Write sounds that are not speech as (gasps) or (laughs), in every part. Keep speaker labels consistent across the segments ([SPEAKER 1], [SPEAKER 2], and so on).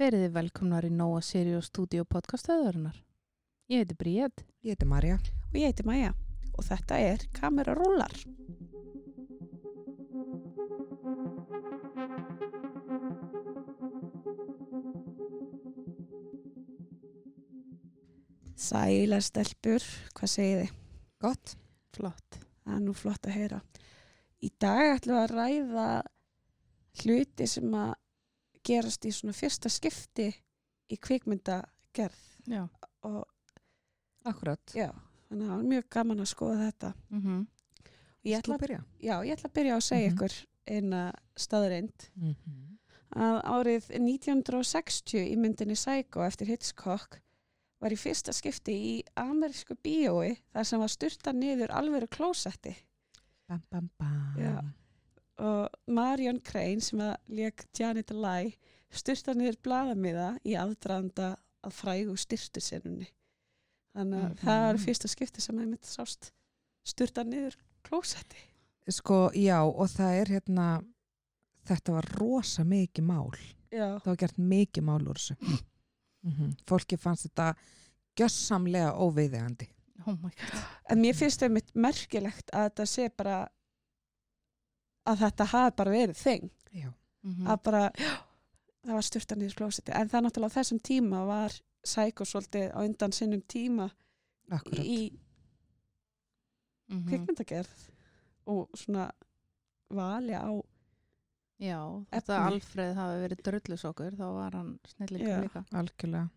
[SPEAKER 1] Verið þið velkomnar í Nóa Sirius Studio podcastöðurinnar. Ég heiti Bríett.
[SPEAKER 2] Ég heiti Marja.
[SPEAKER 3] og ég heiti Maja og þetta er Kamerarúlar. Sælar stelpur, hvað segið þið?
[SPEAKER 2] Gott.
[SPEAKER 1] Flott.
[SPEAKER 3] Það er nú flott að heyra. Í dag ætlum við að ræða hluti sem að gerast í svona fyrsta skipti í kvikmyndagerð
[SPEAKER 1] Já.
[SPEAKER 3] og
[SPEAKER 2] Akkurat.
[SPEAKER 3] já, þannig að það var mjög gaman að skoða þetta.
[SPEAKER 1] Mm -hmm.
[SPEAKER 3] Ég ætla
[SPEAKER 2] að byrja.
[SPEAKER 3] Já, ég ætla að byrja á að segja
[SPEAKER 2] Mhm.
[SPEAKER 3] ykkur eina staðreind
[SPEAKER 2] Mm
[SPEAKER 3] Mhm.
[SPEAKER 2] -hmm.
[SPEAKER 3] að árið 1960 í myndinni Psycho eftir Hitchcock var í fyrsta skipti í amerísku bíói þar sem var styrta niður alveru klósetti
[SPEAKER 2] Bam, bam, bam.
[SPEAKER 3] Já. og Marion Crane sem að leik Janet Lai styrta niður blaðamiða í aðdraðanda að frægu styrtusennunni þannig að
[SPEAKER 1] Mhm.
[SPEAKER 3] það var í fyrsta skipti sem að mynd sást styrta niður klósetti
[SPEAKER 2] Sko, já, og það er hérna, þetta var rosa mikið mál.
[SPEAKER 3] Já,
[SPEAKER 2] Það var gert mikið mál úr þessu. Mm
[SPEAKER 3] Mhm.
[SPEAKER 2] Fólki fannst þetta gjössamlega óveiðegandi.
[SPEAKER 1] Oh my god.
[SPEAKER 3] En mér finnst þau mitt merkilegt að þetta sé bara að þetta hafi bara verið þing
[SPEAKER 2] Já.
[SPEAKER 1] Mm
[SPEAKER 3] að bara, já, það var styrta niður klósetti en það náttúrulega á þessum tíma var sækó svolítið á undan sinnum tíma
[SPEAKER 2] Akkurat.
[SPEAKER 3] í
[SPEAKER 1] Mhm.
[SPEAKER 3] kvikmyndagerð og svona vali á
[SPEAKER 1] Já, þetta
[SPEAKER 3] Efni.
[SPEAKER 1] Alfreð hafi verið drullusokkur, þá var hann snillingur
[SPEAKER 3] Já.
[SPEAKER 1] líka.
[SPEAKER 2] Algjörlega.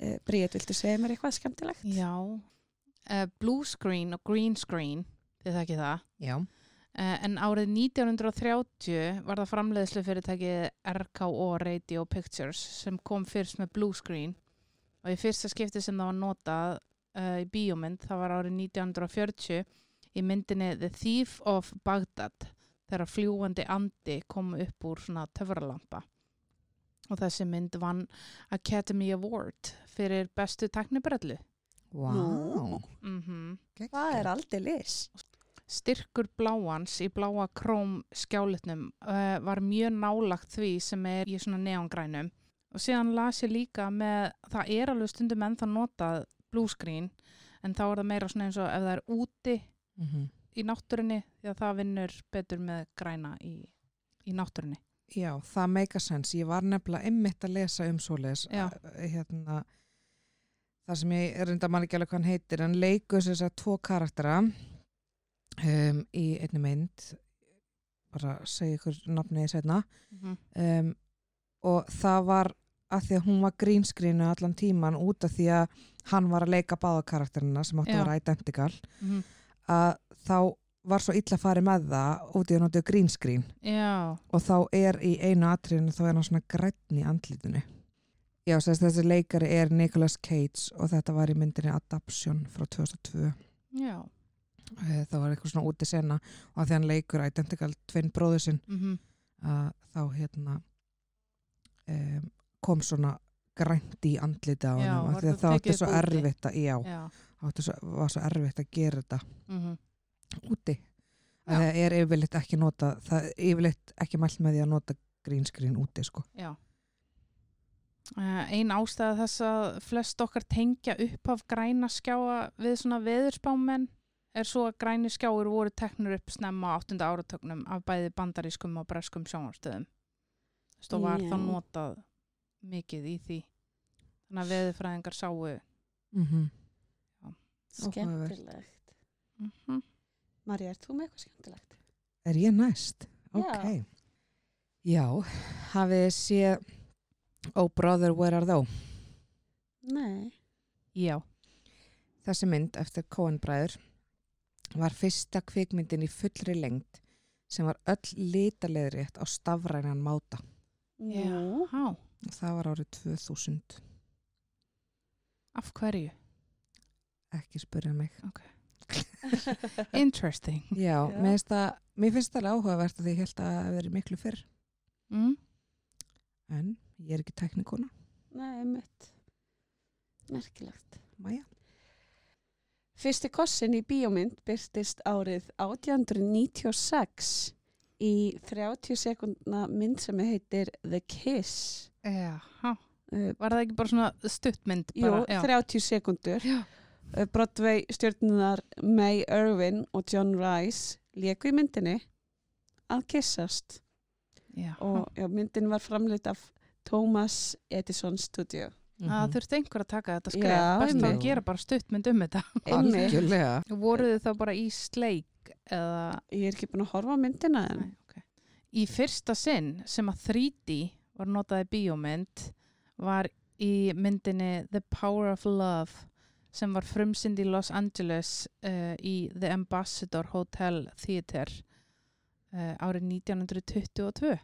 [SPEAKER 3] e, Bríð, viltu segja mér eitthvað skemmtilegt?
[SPEAKER 1] Já. Uh, blue screen og green screen, þið þekki það.
[SPEAKER 2] Já.
[SPEAKER 1] Eh, En árið 1930 var það framleiðslu fyrirtækið RKO Radio Pictures sem kom fyrst með blue screen og í fyrsta skipti sem það var notað uh, í bíómynd það var árið 1940 í myndinni The Thief of Baghdad þegar fljúandi andi kom upp úr svona töfralampa og þessi mynd vann Academy Award fyrir bestu teknibrellu
[SPEAKER 2] Vá.
[SPEAKER 3] Nú.
[SPEAKER 1] mhm
[SPEAKER 3] Það er aldrei lis
[SPEAKER 1] Styrkur bláans í bláa króm skjálutnum uh, var mjög nálagt því sem er í svona neongrænum og síðan las ég líka með, það er alveg stundum ennþá notað blúskrýn en þá er það meira svona eins og ef það er úti
[SPEAKER 2] Mm
[SPEAKER 1] í náttúrunni því að það vinnur betur með græna í, í náttúrunni.
[SPEAKER 2] Já, það meika sens. Ég var nefnilega einmitt að lesa um svoleiðis
[SPEAKER 1] Já.
[SPEAKER 2] að- hérna, það sem ég er reynda mann ekki alveg hvað hann heitir, en leikur þess að tvo karaktera um, í einni mynd, bara segja ykkur nafnið setna, um, og það var að því að hún var grínskrínu allan tíman út af því að hann var að leika báða karakterina sem átti
[SPEAKER 1] Já.
[SPEAKER 2] að vera identical,
[SPEAKER 1] Mhm.
[SPEAKER 2] að þá var svo illa farið með það út í að notið grínskrín
[SPEAKER 1] Já,
[SPEAKER 2] og þá er í einu atriðinu þá er hann svona grænn í andlitinu já, sérst, þessi leikari er Nicolas Cage og þetta var í myndinni Adaption frá 2002
[SPEAKER 1] já.
[SPEAKER 2] Eh, það var eitthvað svona úti sena og þegar hann leikur identical tvinn bróður sinn
[SPEAKER 1] Mm -hmm.
[SPEAKER 2] að þá hérna um, kom svona grænt í andliti á
[SPEAKER 1] Já,
[SPEAKER 2] hann
[SPEAKER 1] var
[SPEAKER 2] því að
[SPEAKER 1] þetta
[SPEAKER 2] það átti
[SPEAKER 1] tekið
[SPEAKER 2] svo
[SPEAKER 1] upp úti?
[SPEAKER 2] erfitt að, já,
[SPEAKER 1] Já,
[SPEAKER 2] átti svo, var svo erfitt að gera þetta
[SPEAKER 1] mm
[SPEAKER 2] úti
[SPEAKER 1] Já.
[SPEAKER 2] það er yfirleitt ekki nota það er yfirleitt ekki mælt með því að nota grínskrín úti sko
[SPEAKER 1] Já. Eh, Ein ástæða þess að flest okkar tengja upp af græna skjáa við svona veðurspámenn er svo að græni skjáur voru teknur upp snemma á 8. áratögnum af bæði bandarískum og breskum sjónarstöðum. Þú veist, og var
[SPEAKER 3] Já.
[SPEAKER 1] þá notað mikið í því. Þannig að veðurfræðingar sáu.
[SPEAKER 2] mm
[SPEAKER 1] Mhm.
[SPEAKER 2] Áhugavert.
[SPEAKER 3] Skemmtilegt
[SPEAKER 1] Mm
[SPEAKER 3] Marja, er þú með eitthvað skemmtilegt?
[SPEAKER 2] Er ég næst?
[SPEAKER 3] Já.
[SPEAKER 2] Ok. Já, hafið þið séð Oh Brother Where Are Thou?
[SPEAKER 3] Nei
[SPEAKER 1] Já.
[SPEAKER 2] Þessi mynd eftir Coen bræður var fyrsta kvikmyndin í fullri lengd sem var öll litaleðrétt á stafrænan máta.
[SPEAKER 3] Nú.
[SPEAKER 1] Há,
[SPEAKER 2] Og Það var árið 2000,
[SPEAKER 1] af hverju?
[SPEAKER 2] ekki
[SPEAKER 1] (laughs)
[SPEAKER 2] spurja mig.
[SPEAKER 1] Interesting.
[SPEAKER 2] Já,
[SPEAKER 3] Já.
[SPEAKER 2] Mér, finnst það, mér finnst það alveg áhugavert að því ég held að það hafi verið miklu fyrr.
[SPEAKER 1] Mm?
[SPEAKER 2] En ég er ekki teknikuna.
[SPEAKER 3] Nei, mitt. Merkilegt.
[SPEAKER 2] Maja.
[SPEAKER 3] Fyrsti kossin í bíómynd byrtist árið 1896 í 30 sekundna mynd sem heitir The Kiss
[SPEAKER 1] Jaha.
[SPEAKER 3] uh,
[SPEAKER 1] Var það ekki bara svona stuttmynd?
[SPEAKER 3] Jú,
[SPEAKER 1] Bara? já.
[SPEAKER 3] 30 sekundur
[SPEAKER 1] Já.
[SPEAKER 3] Uh, Broadway stjórnunar May Irwin og John Rice leku í myndinni að kissast
[SPEAKER 1] Já.
[SPEAKER 3] og já, myndin var framleitt af Thomas Edison Studio
[SPEAKER 2] Mhm.
[SPEAKER 1] Það þurfti einhver að taka þetta skref.
[SPEAKER 3] Já,
[SPEAKER 1] Best að
[SPEAKER 2] einmitt.
[SPEAKER 1] gera bara stuttmynd um þetta.
[SPEAKER 3] Einmitt.
[SPEAKER 2] Algjörlega.
[SPEAKER 1] Voruð þið þá bara í sleik eða
[SPEAKER 3] ég er ekki búin að horfa á myndina en
[SPEAKER 1] Nei, ok. Í fyrsta sinn sem að 3D var notaði bíómynd var í myndinni The Power of Love sem var frumsynd í Los Angeles uh, í The Ambassador Hotel Theater uh, árið 1922.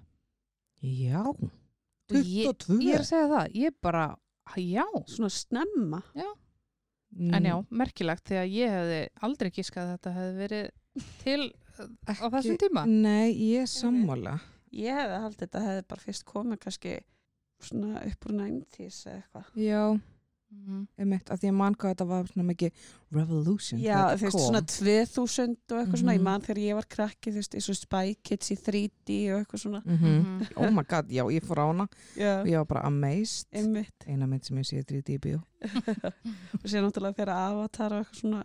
[SPEAKER 2] Já.
[SPEAKER 1] Og ég-
[SPEAKER 2] 22.
[SPEAKER 1] Ég er að segja það, ég bara, já,
[SPEAKER 3] svona snemma
[SPEAKER 2] Mm.
[SPEAKER 1] en já, merkilegt þegar ég hefði aldrei gískað að þetta hefði verið til eh, á þessum tíma.
[SPEAKER 2] Nei, ég er sammála.
[SPEAKER 3] ég hefði haldið þetta hefði bara fyrst komið kannski svona upp úr 90s eða eitthvað
[SPEAKER 2] Já,
[SPEAKER 1] Mm.
[SPEAKER 2] einmitt, að því að mann hvað þetta var svona mikið revolution.
[SPEAKER 3] já,
[SPEAKER 2] þegar
[SPEAKER 3] þú
[SPEAKER 2] þetta
[SPEAKER 3] veist
[SPEAKER 2] kom.
[SPEAKER 3] svona 2000 og eitthvað svona
[SPEAKER 2] Mhm.
[SPEAKER 3] ég man þegar ég var krakki þú veist, eins og Spy Kids í 3D og eitthvað svona
[SPEAKER 2] Mhm. Oh my god, já, ég fór á hana
[SPEAKER 3] já,
[SPEAKER 2] og ég var bara amazed.
[SPEAKER 3] einmitt
[SPEAKER 2] Eina mynd sem ég sé 3D í bíó.
[SPEAKER 3] og sér náttúrulega þegar avatar og eitthvað svona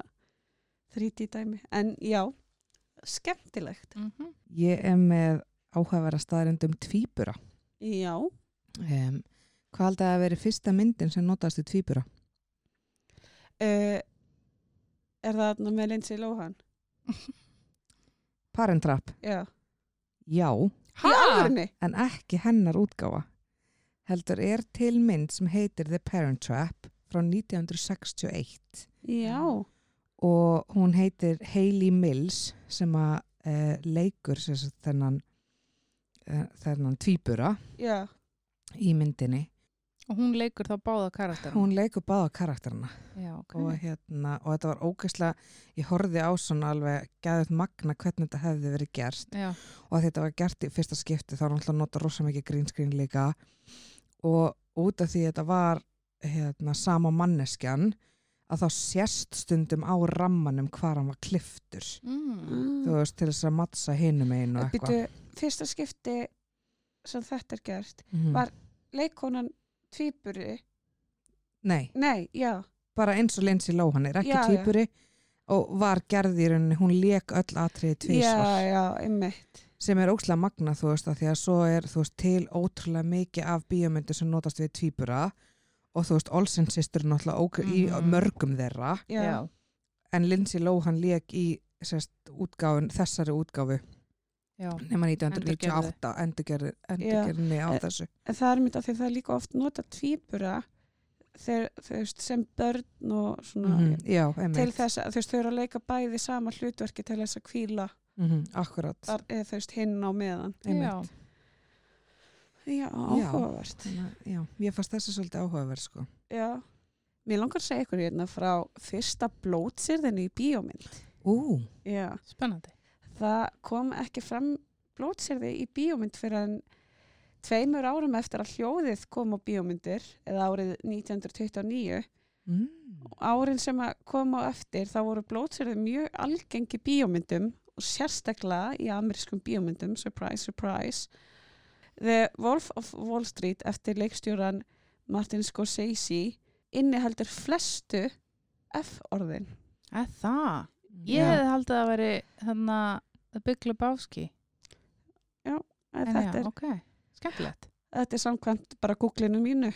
[SPEAKER 3] 3D dæmi en já, skemmtilegt
[SPEAKER 1] Mhm.
[SPEAKER 2] Ég er með áhæfara staðarind um tvíbura. Mm.
[SPEAKER 3] já,
[SPEAKER 2] Um, hvað haldið að veri fyrsta myndin sem notaðist í tvíbura?
[SPEAKER 3] uh, er það þarna með Lindsay Lohan?
[SPEAKER 2] Parent Trap,
[SPEAKER 3] já,
[SPEAKER 2] já,
[SPEAKER 3] í
[SPEAKER 2] Ah!
[SPEAKER 1] Ha?
[SPEAKER 3] alvörinni
[SPEAKER 2] en ekki hennar útgáfa. Heldur er til mynd sem heitir The Parent Trap frá 1961
[SPEAKER 3] já,
[SPEAKER 2] og hún heitir Hayley Mills sem að uh, leikur sem sagt, þennan, uh, þennan tvíbura
[SPEAKER 3] já,
[SPEAKER 2] í myndinni.
[SPEAKER 1] Og hún leikur þá báða karakter.
[SPEAKER 2] Hún leikur báða karakterina.
[SPEAKER 1] Já, ok.
[SPEAKER 2] og hérna, og þetta var ógeðslega ég horfði á svona alveg gæðut magna hvernig þetta hefði verið gert
[SPEAKER 1] Já.
[SPEAKER 2] og að þetta var gert í fyrsta skipti þá var náttúrulega nota rosa mikið grínskrín líka og út af því þetta var hérna, sama manneskjan að þá sérst stundum á rammanum hvar hann var kliftur
[SPEAKER 1] Mm.
[SPEAKER 2] þú
[SPEAKER 3] mm.
[SPEAKER 2] veist, til þess að mattsa hinum einu og Ah. eitthvað
[SPEAKER 3] Býtu, fyrsta skipti sem þetta er gert
[SPEAKER 2] Mhm.
[SPEAKER 3] var- leikonan tvíburi
[SPEAKER 2] Nei,
[SPEAKER 3] nei, já,
[SPEAKER 2] bara eins og Lindsay Lohan er ekki
[SPEAKER 3] Já, já.
[SPEAKER 2] týpuri og var gerð í rauninni, hún lék öll atriði tvísvar
[SPEAKER 3] já, já, einmitt
[SPEAKER 2] sem er ókslega magna þú veist að því að svo er þú veist til ótrúlega mikið af bíómyndu sem notast við tvíbura og þú veist Olsen sýstur er náttúrulega ók
[SPEAKER 1] Mhm.
[SPEAKER 2] í mörgum þeirra
[SPEAKER 3] já, já.
[SPEAKER 2] en Lindsay Lohan lék í sérst, útgáfun, þessari útgáfu
[SPEAKER 1] Já.
[SPEAKER 2] nema 1998 endurgerði, endurgerðinni á
[SPEAKER 3] Eh,
[SPEAKER 2] þessu
[SPEAKER 3] En það er mynd að því það er líka oft nota tvíbura þegar, þú veist, sem börn og svona
[SPEAKER 2] mm já,
[SPEAKER 3] ah, til
[SPEAKER 2] einmitt
[SPEAKER 3] þess að þú veist, þau eru að leika bæði sama hlutverki til þess að kvíla
[SPEAKER 2] mm -hmm, akkurat
[SPEAKER 3] þar, eða þú veist, hinn á meðan.
[SPEAKER 2] einmitt.
[SPEAKER 1] Já.
[SPEAKER 3] Já, áhugavert.
[SPEAKER 2] Þannig að, já, mér fannst þessi svolítið áhugaverð sko
[SPEAKER 3] Já. Mér langar að segja ykkur hérna frá fyrsta blótsýrðinu í bíómynd.
[SPEAKER 2] ú,
[SPEAKER 3] Já.
[SPEAKER 1] Spennandi.
[SPEAKER 3] Það kom ekki fram blótsýrði í bíómynd fyrir en tveimur árum eftir að hljóðið kom á bíómyndir eða árið 1929
[SPEAKER 2] mm.
[SPEAKER 3] árin sem að koma á eftir þá voru blótsyrði mjög algengi bíómyndum og sérstaklega í amerískum bíómyndum, surprise, surprise The Wolf of Wall Street eftir leikstjóran Martin Scorsese inniheldur flestu F-orðin
[SPEAKER 1] Er það? Ég hefði haldið að veri þannig að The Big Lebowski.
[SPEAKER 3] En
[SPEAKER 1] En
[SPEAKER 3] þetta,
[SPEAKER 1] já,
[SPEAKER 3] er,
[SPEAKER 1] ok. Skemmtilegt.
[SPEAKER 3] þetta er samkvæmt bara googlinu mínu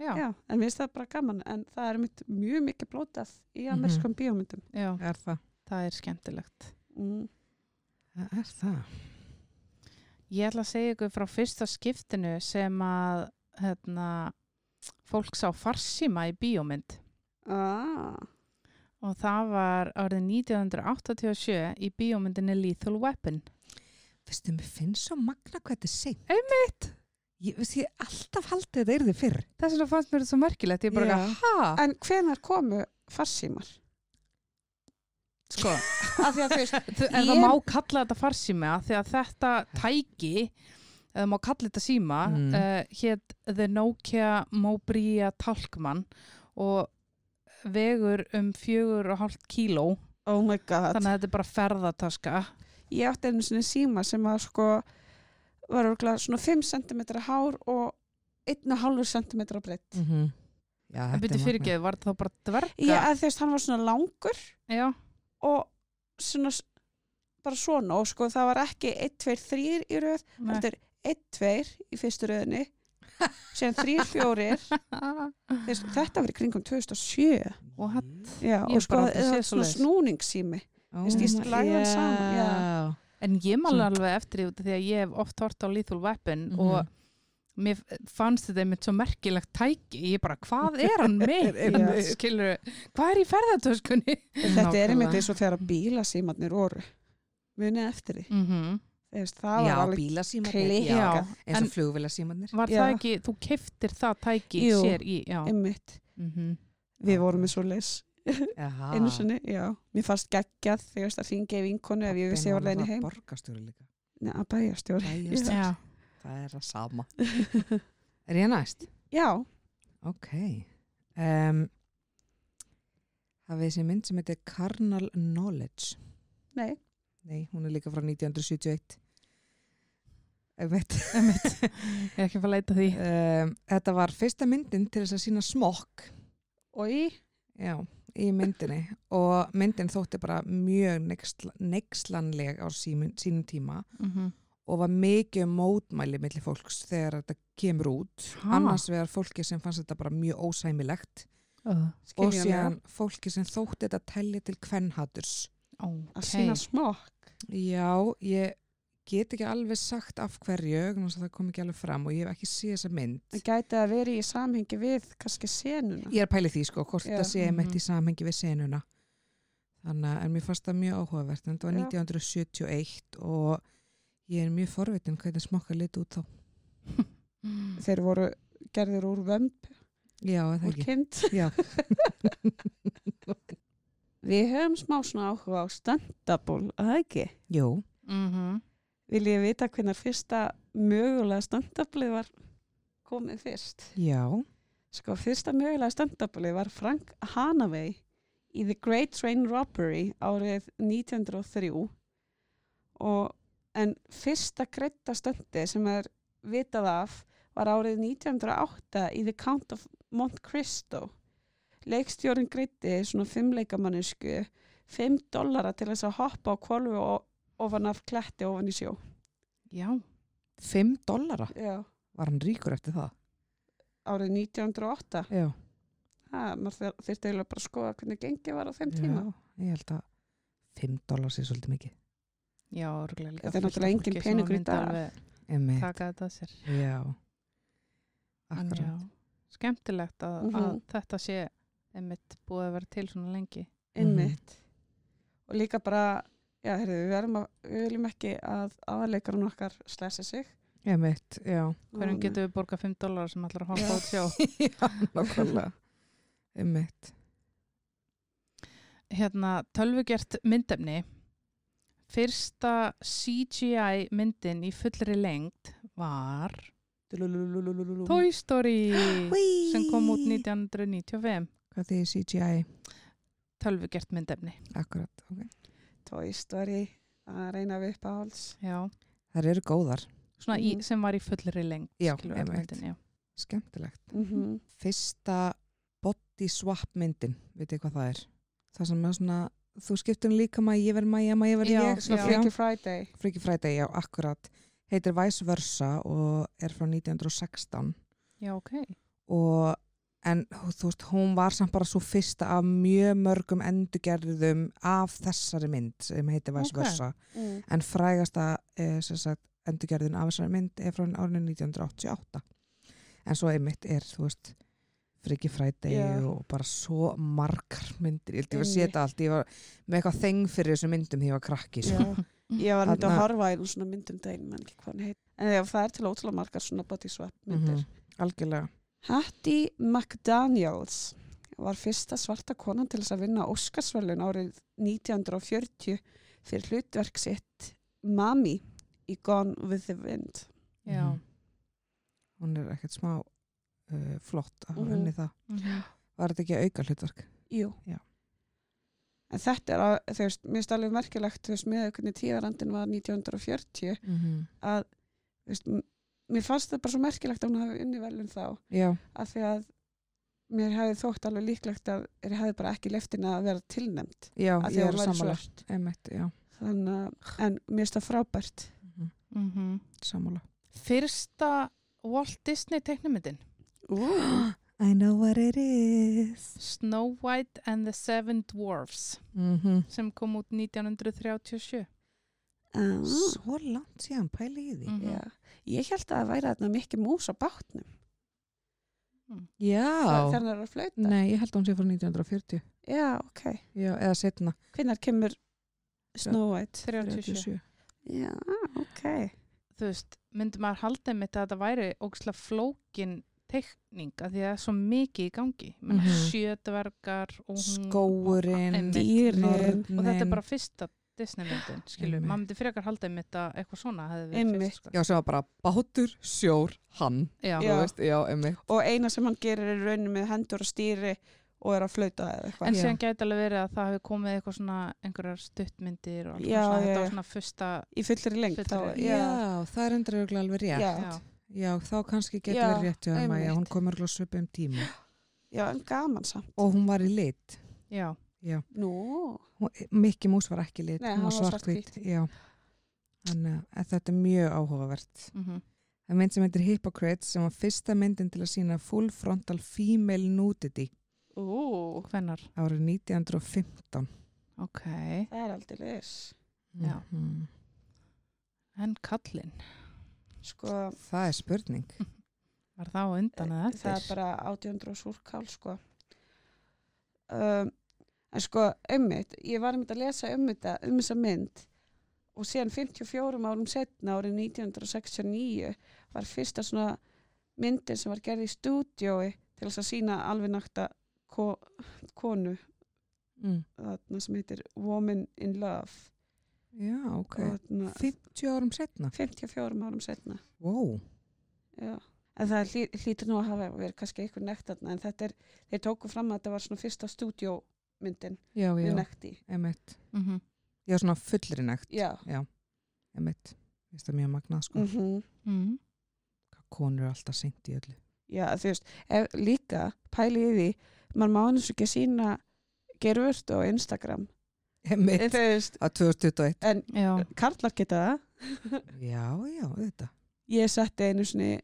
[SPEAKER 1] Já, já.
[SPEAKER 3] Já, en minnst það bara gaman en það er mynd mjög mikið blótað í
[SPEAKER 2] Mhm.
[SPEAKER 3] amerískum bíómyndum
[SPEAKER 2] er það,
[SPEAKER 1] það er skemmtilegt.
[SPEAKER 3] mm.
[SPEAKER 2] það er það
[SPEAKER 1] Ég ætla að segja ykkur frá fyrsta skiptinu sem að hérna, fólk sá farsíma í bíómynd
[SPEAKER 3] ah,
[SPEAKER 1] og það var árið 1987 í bíómyndinni Lethal Weapon.
[SPEAKER 2] Veistu, mér finnst svo magna hvað þetta er seint.
[SPEAKER 1] Einmitt!
[SPEAKER 2] Ég, veist, ég hef alltaf haldið að þetta yrði fyrr.
[SPEAKER 1] Þess vegna fannst mér þetta svo merkilegt. Ég bara,
[SPEAKER 2] Já.
[SPEAKER 1] yeah. hæ?
[SPEAKER 3] En hvenar komu farsímar?
[SPEAKER 1] (laughs) Sko,
[SPEAKER 3] Af því að þú veist
[SPEAKER 1] Þ- En það
[SPEAKER 3] Ég-
[SPEAKER 1] má kalla þetta farsíma því að þetta tæki eða má kalla þetta síma
[SPEAKER 2] Mm.
[SPEAKER 1] mm. hétt The Nokia Mobria Talkman og vegur um fjögur og hálft kíló
[SPEAKER 3] Oh my god.
[SPEAKER 1] þannig að þetta er bara ferðataska
[SPEAKER 3] ég átti einu sinni síma sem að sko var örgulega svona 5 cm hár og 1,5 cm breytt.
[SPEAKER 2] Mm -hmm. Já,
[SPEAKER 1] En byrju fyrirgeð, var það bara dverga?
[SPEAKER 3] Ég að þess hann var svona langur
[SPEAKER 1] Já,
[SPEAKER 3] og svona s- bara svona og sko það var ekki 1, 2, 3 í röð,
[SPEAKER 1] nei.
[SPEAKER 3] heldur 1, 2 í fyrstu röðinni, síðan 3, 4,
[SPEAKER 1] (laughs)
[SPEAKER 3] þess, þetta var í kringum 2007.
[SPEAKER 1] What?
[SPEAKER 3] Já,
[SPEAKER 1] Ég
[SPEAKER 3] og sko
[SPEAKER 1] bara aldrei
[SPEAKER 3] það
[SPEAKER 1] séð
[SPEAKER 3] var svona
[SPEAKER 1] svoleiðis.
[SPEAKER 3] snúningssými.
[SPEAKER 2] Oh
[SPEAKER 3] Veist, ég
[SPEAKER 2] my-
[SPEAKER 3] lagði hann saman, já.
[SPEAKER 2] Já.
[SPEAKER 1] En ég man
[SPEAKER 2] Svona-
[SPEAKER 1] alveg eftir því út af því að ég hef oft hort á Lethal Weapon
[SPEAKER 2] Mhm.
[SPEAKER 1] og mér fannst þetta einmitt svo merkilegt tæki. Ég bara, hvað er
[SPEAKER 3] (laughs)
[SPEAKER 1] hann með?
[SPEAKER 3] Einmitt.
[SPEAKER 1] Skilur, hvað er í ferðartöskunni?
[SPEAKER 3] Þetta er einmitt
[SPEAKER 1] Nákvæmlega.
[SPEAKER 3] eins og þegar bílasímarnir voru munið eftir því.
[SPEAKER 1] Mm
[SPEAKER 3] Þess, það
[SPEAKER 2] já,
[SPEAKER 3] var alveg
[SPEAKER 2] bílasímarnir
[SPEAKER 3] klikkað.
[SPEAKER 2] já.
[SPEAKER 1] Já,
[SPEAKER 2] eins og
[SPEAKER 1] en-
[SPEAKER 2] flugvélasímarnir
[SPEAKER 1] Var
[SPEAKER 3] Já.
[SPEAKER 1] það ekki, þú keiftir það tæki
[SPEAKER 3] Jú.
[SPEAKER 1] sér í, já.
[SPEAKER 3] einmitt.
[SPEAKER 1] Mm
[SPEAKER 3] Við vorum með svo leys
[SPEAKER 1] Ah.
[SPEAKER 2] Jaha.
[SPEAKER 3] einu sinni, já. Mér fannst geggjað þegar það ringi í vinkonu ef ég
[SPEAKER 2] Pabbi
[SPEAKER 3] vissi ég var
[SPEAKER 2] hennar
[SPEAKER 3] leiðinni
[SPEAKER 2] var
[SPEAKER 3] heim.
[SPEAKER 2] borgarstjóri (laughs) líka
[SPEAKER 3] Nei, að bæjastjóri.
[SPEAKER 2] Bæjarstjóri.
[SPEAKER 1] Já.
[SPEAKER 2] það er það sama (laughs) er ég næst?
[SPEAKER 3] Já,
[SPEAKER 2] ok um, hafið þessi mynd sem heitir Carnal Knowledge
[SPEAKER 3] nei.
[SPEAKER 2] nei, hún er líka frá 1971 einmitt
[SPEAKER 1] Ég er ekki að fara að leita því.
[SPEAKER 2] um, þetta var fyrsta myndin til þess að sína smokk
[SPEAKER 3] Oi,
[SPEAKER 2] Já, í myndinni og myndin þótti bara mjög neyksla- neykslanleg á símun, sínum tíma
[SPEAKER 1] Mm
[SPEAKER 3] Mhm.
[SPEAKER 2] og var mikið um mótmæli millir fólks þegar þetta kemur út
[SPEAKER 1] Ha?
[SPEAKER 2] annars vegar fólki sem fannst þetta bara mjög ósæmilegt og
[SPEAKER 3] skiljanlega.
[SPEAKER 2] síðan fólki sem þótti þetta telli til kvennhaturs
[SPEAKER 3] Að sína smokk.
[SPEAKER 2] Já, ég get ekki alveg sagt af hverju vegna þess að það kom ekki alveg fram og ég hef ekki séð þessa mynd
[SPEAKER 3] Það gæti að vera í samhengi við kannski senuna.
[SPEAKER 2] Ég er pælið því sko, hvort
[SPEAKER 3] Já.
[SPEAKER 2] þetta sé einmitt
[SPEAKER 1] Mhm.
[SPEAKER 2] í samhengi við senuna. Þannig að en mér fannst það mjög áhugavert, en þetta var
[SPEAKER 3] Já.
[SPEAKER 2] 1971 og ég er mjög forvitin hvernig smokkar lit út þá.
[SPEAKER 3] Þeir voru gerðir úr vömb,
[SPEAKER 2] Já, er það
[SPEAKER 3] úr
[SPEAKER 2] ekki.
[SPEAKER 3] kind. (laughs)
[SPEAKER 2] Já,
[SPEAKER 3] Við höfum smá svona áhuga á standaból, að það ekki?
[SPEAKER 2] jú.
[SPEAKER 1] Mhm.
[SPEAKER 3] Vil ég vita hvernig fyrsta mögulega standablið var komið fyrst?
[SPEAKER 2] Já,
[SPEAKER 3] Sko, fyrsta mögulega standablið var Frank Hanaway í The Great Train Robbery árið 1903 og en fyrsta greita stöndi sem er vitað af var árið 1908 í The Count of Monte Cristo. Leikstjórin greiti svona fimmleikamannisku 5 dollara til þess að hoppa á kvolfu og ofan af kletti ofan í sjó.
[SPEAKER 1] Já,
[SPEAKER 2] 5 dollara.
[SPEAKER 3] Já.
[SPEAKER 2] Var hann ríkur eftir það?
[SPEAKER 3] Árið 1908.
[SPEAKER 2] Já.
[SPEAKER 3] Ha, maður þurfti eiginlega bara að skoða hvernig gengið var á þeim
[SPEAKER 2] Já, Mhm.
[SPEAKER 3] tíma.
[SPEAKER 2] ég held að 5 dollara sé svolítið mikið.
[SPEAKER 1] já, örgulega líka.
[SPEAKER 3] Þetta er
[SPEAKER 1] fullt af
[SPEAKER 3] náttúrulega engin
[SPEAKER 1] fólki sem
[SPEAKER 3] peningur í
[SPEAKER 1] myndi
[SPEAKER 3] dag.
[SPEAKER 1] alveg
[SPEAKER 2] Emmi,
[SPEAKER 1] Taka þetta að sér.
[SPEAKER 2] já.
[SPEAKER 1] En
[SPEAKER 2] Akkurat.
[SPEAKER 1] já, Skemmtilegt að, að
[SPEAKER 3] Mhm.
[SPEAKER 1] þetta sé einmitt búið að vera til svona lengi.
[SPEAKER 3] einmitt og líka bara já, heyrðu, við, verðum að, við viljum ekki að aðleikarinn okkar slessi sig
[SPEAKER 2] Emmi, já.
[SPEAKER 1] Hverjum
[SPEAKER 3] Og-
[SPEAKER 1] getum við borgað 5 dólar sem allar að hoppa út sjá?
[SPEAKER 2] (laughs) já, nákvæmlega. Emmi,
[SPEAKER 1] Hérna, tölvugert myndefni. Fyrsta CGI myndin í fullri lengd var Toy Story sem kom út 1995.
[SPEAKER 2] Hvað því CGI?
[SPEAKER 1] Tölvugert myndefni.
[SPEAKER 2] Akkurat, ok.
[SPEAKER 3] Toy Story að reyna við upp á háls
[SPEAKER 1] Já.
[SPEAKER 2] Það eru góðar,
[SPEAKER 1] Svona í,
[SPEAKER 3] Mhm.
[SPEAKER 1] sem var í fullri lengd.
[SPEAKER 2] Já,
[SPEAKER 1] skilur við, öll
[SPEAKER 2] einmitt.
[SPEAKER 1] myndin, já.
[SPEAKER 2] skemmtilegt.
[SPEAKER 3] mm -hmm.
[SPEAKER 2] Fyrsta body swap myndin, veit ég hvað það er? Það sem er svona, þú skiptum líka maður, ég verð maður, maður verð
[SPEAKER 1] Já,
[SPEAKER 2] ég.
[SPEAKER 1] já.
[SPEAKER 3] Freaky Friday
[SPEAKER 2] Freaky Friday, já, akkurat. Heitir Vice Versa og er frá 1916
[SPEAKER 1] Já, ok.
[SPEAKER 2] og en þú veist, hún var samt bara svo fyrsta af mjög mörgum endurgerðum af þessari mynd sem heitir Vice
[SPEAKER 1] Ok.
[SPEAKER 2] Versa
[SPEAKER 3] mm.
[SPEAKER 2] en frægasta eh, sem sagt, endurgerðin af þessari mynd er frá árinu 1988 en svo einmitt er þú veist Friggi Friday
[SPEAKER 3] Já.
[SPEAKER 2] og bara svo margar myndir, ég held ég var að
[SPEAKER 3] Einmitt.
[SPEAKER 2] setja allt ég var með eitthvað þeng fyrir þessum myndum því ég var krakki sko.
[SPEAKER 3] (laughs) ég var myndið að
[SPEAKER 2] Þarna-
[SPEAKER 3] horfa í einum svona myndum daginn man ekki hvað hann heit en já, það er til ótrúlega margar svona body swap myndir
[SPEAKER 2] Mhm. algjörlega
[SPEAKER 3] Hattie McDaniels var fyrsta svarta konan til þess að vinna Óskarsvölun árið 1940 fyrir hlutverk sitt Mami í Gone with the Wind.
[SPEAKER 1] Já.
[SPEAKER 2] Mhm. hún er ekkert smá uh, flott að hafa
[SPEAKER 3] Mhm.
[SPEAKER 2] henni það
[SPEAKER 1] Mhm.
[SPEAKER 2] var þetta ekki auka hlutverk
[SPEAKER 3] Jú.
[SPEAKER 2] Já.
[SPEAKER 3] en þetta er að, þú veist, mér er alveg merkilegt, þú veist, með hvernig tíðarandin var 1940
[SPEAKER 2] mm -hmm.
[SPEAKER 3] að, þú veist, m- mér fannst það bara svo merkilegt að hún hafi unni velum þá
[SPEAKER 2] já,
[SPEAKER 3] af því að mér hefði þótt alveg líklegt að ég hefði bara ekki leftina að vera tilnæmt
[SPEAKER 2] já,
[SPEAKER 3] af því
[SPEAKER 2] ég
[SPEAKER 3] að
[SPEAKER 2] er
[SPEAKER 3] hún væri
[SPEAKER 2] sammála
[SPEAKER 3] svört
[SPEAKER 2] Einmitt, já,
[SPEAKER 3] þannig að, en mér finnst það frábært
[SPEAKER 2] Mhm,
[SPEAKER 1] Mm
[SPEAKER 2] sammála
[SPEAKER 1] Fyrsta Walt Disney teiknumyndin
[SPEAKER 3] (gasps) Ú,
[SPEAKER 2] I know what it is
[SPEAKER 1] Snow White and the Seven Dwarfs
[SPEAKER 2] mm
[SPEAKER 1] sem kom út 1937
[SPEAKER 3] ah,
[SPEAKER 2] Svo langt síðan, pæli í því
[SPEAKER 1] mm
[SPEAKER 3] já. ég held að það væri þarna mikið mús á bátnum
[SPEAKER 2] Já,
[SPEAKER 3] þegar hann er að flauta
[SPEAKER 2] nei, ég held að hún sé frá 1940
[SPEAKER 3] já, ok,
[SPEAKER 2] Já, eða setna
[SPEAKER 3] hvenær kemur Snow White
[SPEAKER 1] 37
[SPEAKER 3] já, ok
[SPEAKER 1] þú veist, myndi maður halda mitt að þetta væri ógislega flókin teikning að því að það er svo mikið í gangi mm
[SPEAKER 2] Mhm.
[SPEAKER 1] sjö dvergar og hún
[SPEAKER 3] Mm.
[SPEAKER 2] Skóurinn,
[SPEAKER 1] Einmitt.
[SPEAKER 3] Dýrin.
[SPEAKER 2] nornin
[SPEAKER 1] og þetta er bara fyrsta Disney myndin, skilur,
[SPEAKER 2] Einmitt.
[SPEAKER 1] maður myndi frekar halda mitt að eitthvað svona hefði verið
[SPEAKER 3] Einmitt.
[SPEAKER 1] fyrst sko.
[SPEAKER 2] Já, sem var bara bátur, sjór, hann
[SPEAKER 1] Já.
[SPEAKER 2] Já, veist, já emmi
[SPEAKER 3] og eina sem hann gerir er raunin með hendur og stýri og er að flauta eða
[SPEAKER 1] en
[SPEAKER 3] eitthvað
[SPEAKER 1] síðan gæti alveg verið að það hefði komið eitthvað svona einhverjar stuttmyndir og alls
[SPEAKER 3] Já,
[SPEAKER 1] konar svona,
[SPEAKER 3] já,
[SPEAKER 1] þetta
[SPEAKER 3] já.
[SPEAKER 1] var svona fyrsta
[SPEAKER 3] í fullri lengt þá,
[SPEAKER 1] Fullri-
[SPEAKER 3] já,
[SPEAKER 2] Já, það er endur örugglega alveg rétt.
[SPEAKER 3] já.
[SPEAKER 1] já,
[SPEAKER 2] Já, þá kannski getur
[SPEAKER 3] Já,
[SPEAKER 2] verið rétt hjá þeim að
[SPEAKER 3] einmitt.
[SPEAKER 2] hún komur glóð söpu um tíma.
[SPEAKER 3] já, en gaman samt
[SPEAKER 2] Og hún var í lit.
[SPEAKER 1] já,
[SPEAKER 3] Nú,
[SPEAKER 2] Hún- Mikki Mús var ekki í lit,
[SPEAKER 3] Nei,
[SPEAKER 2] hún var
[SPEAKER 3] hann var
[SPEAKER 2] svartkvít. Já, þannig að- að þetta er mjög áhugavert.
[SPEAKER 1] mm
[SPEAKER 2] Það er mynd sem heitir Hypocrites sem var fyrsta myndin til að sína full frontal female nudity
[SPEAKER 3] ú,
[SPEAKER 1] hvenar
[SPEAKER 2] árið 1915.
[SPEAKER 1] ok,
[SPEAKER 3] það er aldrei leis.
[SPEAKER 1] Já.
[SPEAKER 2] Mhm.
[SPEAKER 1] en kallinn
[SPEAKER 3] Sko,
[SPEAKER 2] Það er
[SPEAKER 3] (laughs)
[SPEAKER 2] spurning.
[SPEAKER 1] var Eh, það á undan eða
[SPEAKER 3] það er
[SPEAKER 1] eftir
[SPEAKER 3] bara 800 súrkál, sko. Um, en sko, ummitt, ég var einmitt að lesa um þetta, um þessa mynd og síðan 54 árum setna, árið 1969, var fyrsta svona myndin sem var gerð í stúdiói til þess að sína alveg nakta ko konu,
[SPEAKER 2] Mm.
[SPEAKER 3] þarna sem heitir Woman in Love.
[SPEAKER 2] Já, ok.
[SPEAKER 3] Þarna,
[SPEAKER 2] 50 árum setna.
[SPEAKER 3] 54 árum setna.
[SPEAKER 2] Wow.
[SPEAKER 3] Já. En það hlý, hlýtur nú að hafa verið kannski eitthvað nektarna en þetta er, þeir tóku fram að þetta var svona fyrsta stúdíómyndin
[SPEAKER 2] Já,
[SPEAKER 3] með
[SPEAKER 2] já,
[SPEAKER 3] nekti.
[SPEAKER 2] emitt.
[SPEAKER 1] mm -hmm.
[SPEAKER 2] Já, svona fullri nægt.
[SPEAKER 3] Já.
[SPEAKER 2] Emitt. Vist það mjög magnað, sko.
[SPEAKER 3] Mm
[SPEAKER 1] Mhm.
[SPEAKER 2] Hvað konur er alltaf seint í öllu.
[SPEAKER 3] Já, þú veist, ef, líka pæli í því, maður má eins og ekki sína gervört á Instagram.
[SPEAKER 2] Emitt.
[SPEAKER 3] En (laughs) Þú veist,
[SPEAKER 2] Á 2021.
[SPEAKER 3] en
[SPEAKER 1] já,
[SPEAKER 3] karlar geta það.
[SPEAKER 2] Já, já, þetta.
[SPEAKER 3] Ég setti einu svona,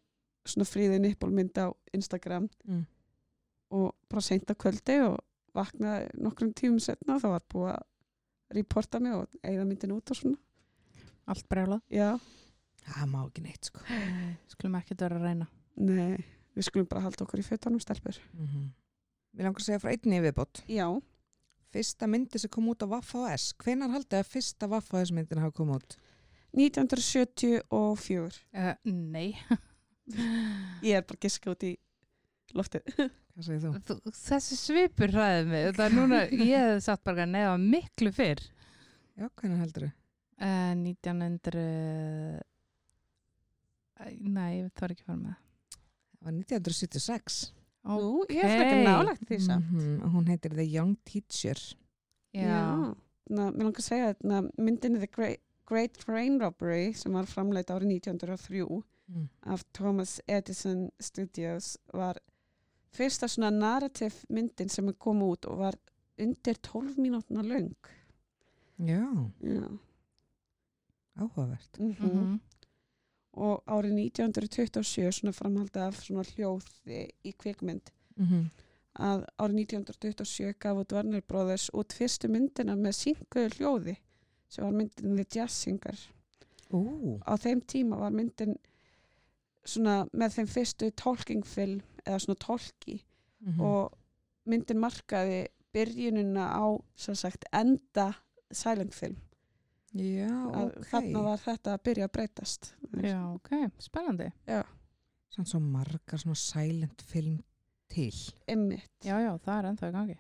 [SPEAKER 3] svona fríði nippolmynd á Instagram
[SPEAKER 2] Mm.
[SPEAKER 3] og bara seint að kvöldi og vaknaði nokkrum tímum setna og það var búið að reporta mig og eigða myndin út og svona.
[SPEAKER 1] allt brjálað
[SPEAKER 3] Já.
[SPEAKER 2] Það má ekki neitt, sko.
[SPEAKER 1] Nei, skulum ekki vera að reyna
[SPEAKER 3] Nei, við skulum bara halda okkur í fötunum stelpur.
[SPEAKER 2] Mm Mér langar að segja frá einni viðbót.
[SPEAKER 3] Já,
[SPEAKER 2] Fyrsta myndi sem kom út á Vaffa og S. Hvenar haldið að fyrsta Vaffa og S myndin hafa komið út?
[SPEAKER 3] 1974.
[SPEAKER 1] uh, nei
[SPEAKER 3] Ég er bara giska út í loftið.
[SPEAKER 2] Hvað segir þú?
[SPEAKER 1] Þú, þessi svipur hræði mig þetta er núna, (laughs) ég hefði satt bara að nefa miklu fyrr
[SPEAKER 2] Já, hvenar heldur þau?
[SPEAKER 1] uh, 1900 Æ, nei, ég þarf ekki að fara með
[SPEAKER 2] Það var 1976.
[SPEAKER 1] Ó,
[SPEAKER 3] Nú, ég er frekar
[SPEAKER 1] Ókei.
[SPEAKER 3] nálægt því samt.
[SPEAKER 2] -hmm. Hún heitir The Young Teacher.
[SPEAKER 1] já,
[SPEAKER 3] Na, mér langar að segja að myndinni The Great, Great Train Robbery sem var framleitt árið 1903
[SPEAKER 2] Mm.
[SPEAKER 3] af Thomas Edison Studios var fyrsta svona narrative myndin sem kom út og var undir 12 mínútna löng.
[SPEAKER 2] Já,
[SPEAKER 3] Já.
[SPEAKER 2] áhugavert.
[SPEAKER 3] Mm
[SPEAKER 1] mhm,
[SPEAKER 3] og árið 1927 svona framhaldi af svona hljóði í kvikmynd
[SPEAKER 2] Mm -hmm.
[SPEAKER 3] að árið 1927 gaf út Warner Brothers út fyrstu myndina með synguðu hljóði sem var myndin The Jazz Singer
[SPEAKER 2] Ú,
[SPEAKER 3] á þeim tíma var myndin svona með þeim fyrstu tolkingfilm eða svona tolki
[SPEAKER 2] mm -hmm.
[SPEAKER 3] og myndin markaði byrjunina á sem sagt enda silent film
[SPEAKER 2] já,
[SPEAKER 3] að
[SPEAKER 2] ok.
[SPEAKER 3] þarna var þetta að byrja að breytast
[SPEAKER 1] já, ok, spennandi
[SPEAKER 2] Sann svo margar svona silent film til.
[SPEAKER 3] Einmitt.
[SPEAKER 1] já, já, það er ennþá í gangi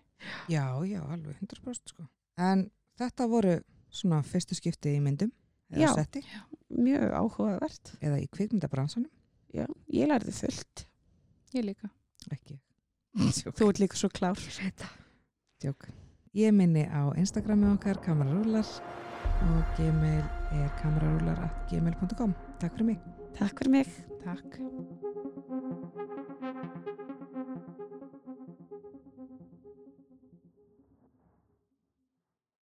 [SPEAKER 2] Já, já, alveg 100% sko. En þetta voru svona fyrstu skipti í myndum eða
[SPEAKER 3] Já.
[SPEAKER 2] setti
[SPEAKER 3] mjög áhugavert
[SPEAKER 2] eða í kvikmyndabransanum,
[SPEAKER 3] Já, ég lærði fullt.
[SPEAKER 1] ég líka
[SPEAKER 2] ekki.
[SPEAKER 1] (laughs)
[SPEAKER 3] Þú ert líka svo klár.
[SPEAKER 2] Djók. Ég minni á Instagrami okkar kamerarúlar og gmail er kamerarúlar.gmail.com Takk fyrir mig
[SPEAKER 3] Takk fyrir mig.
[SPEAKER 1] Takk.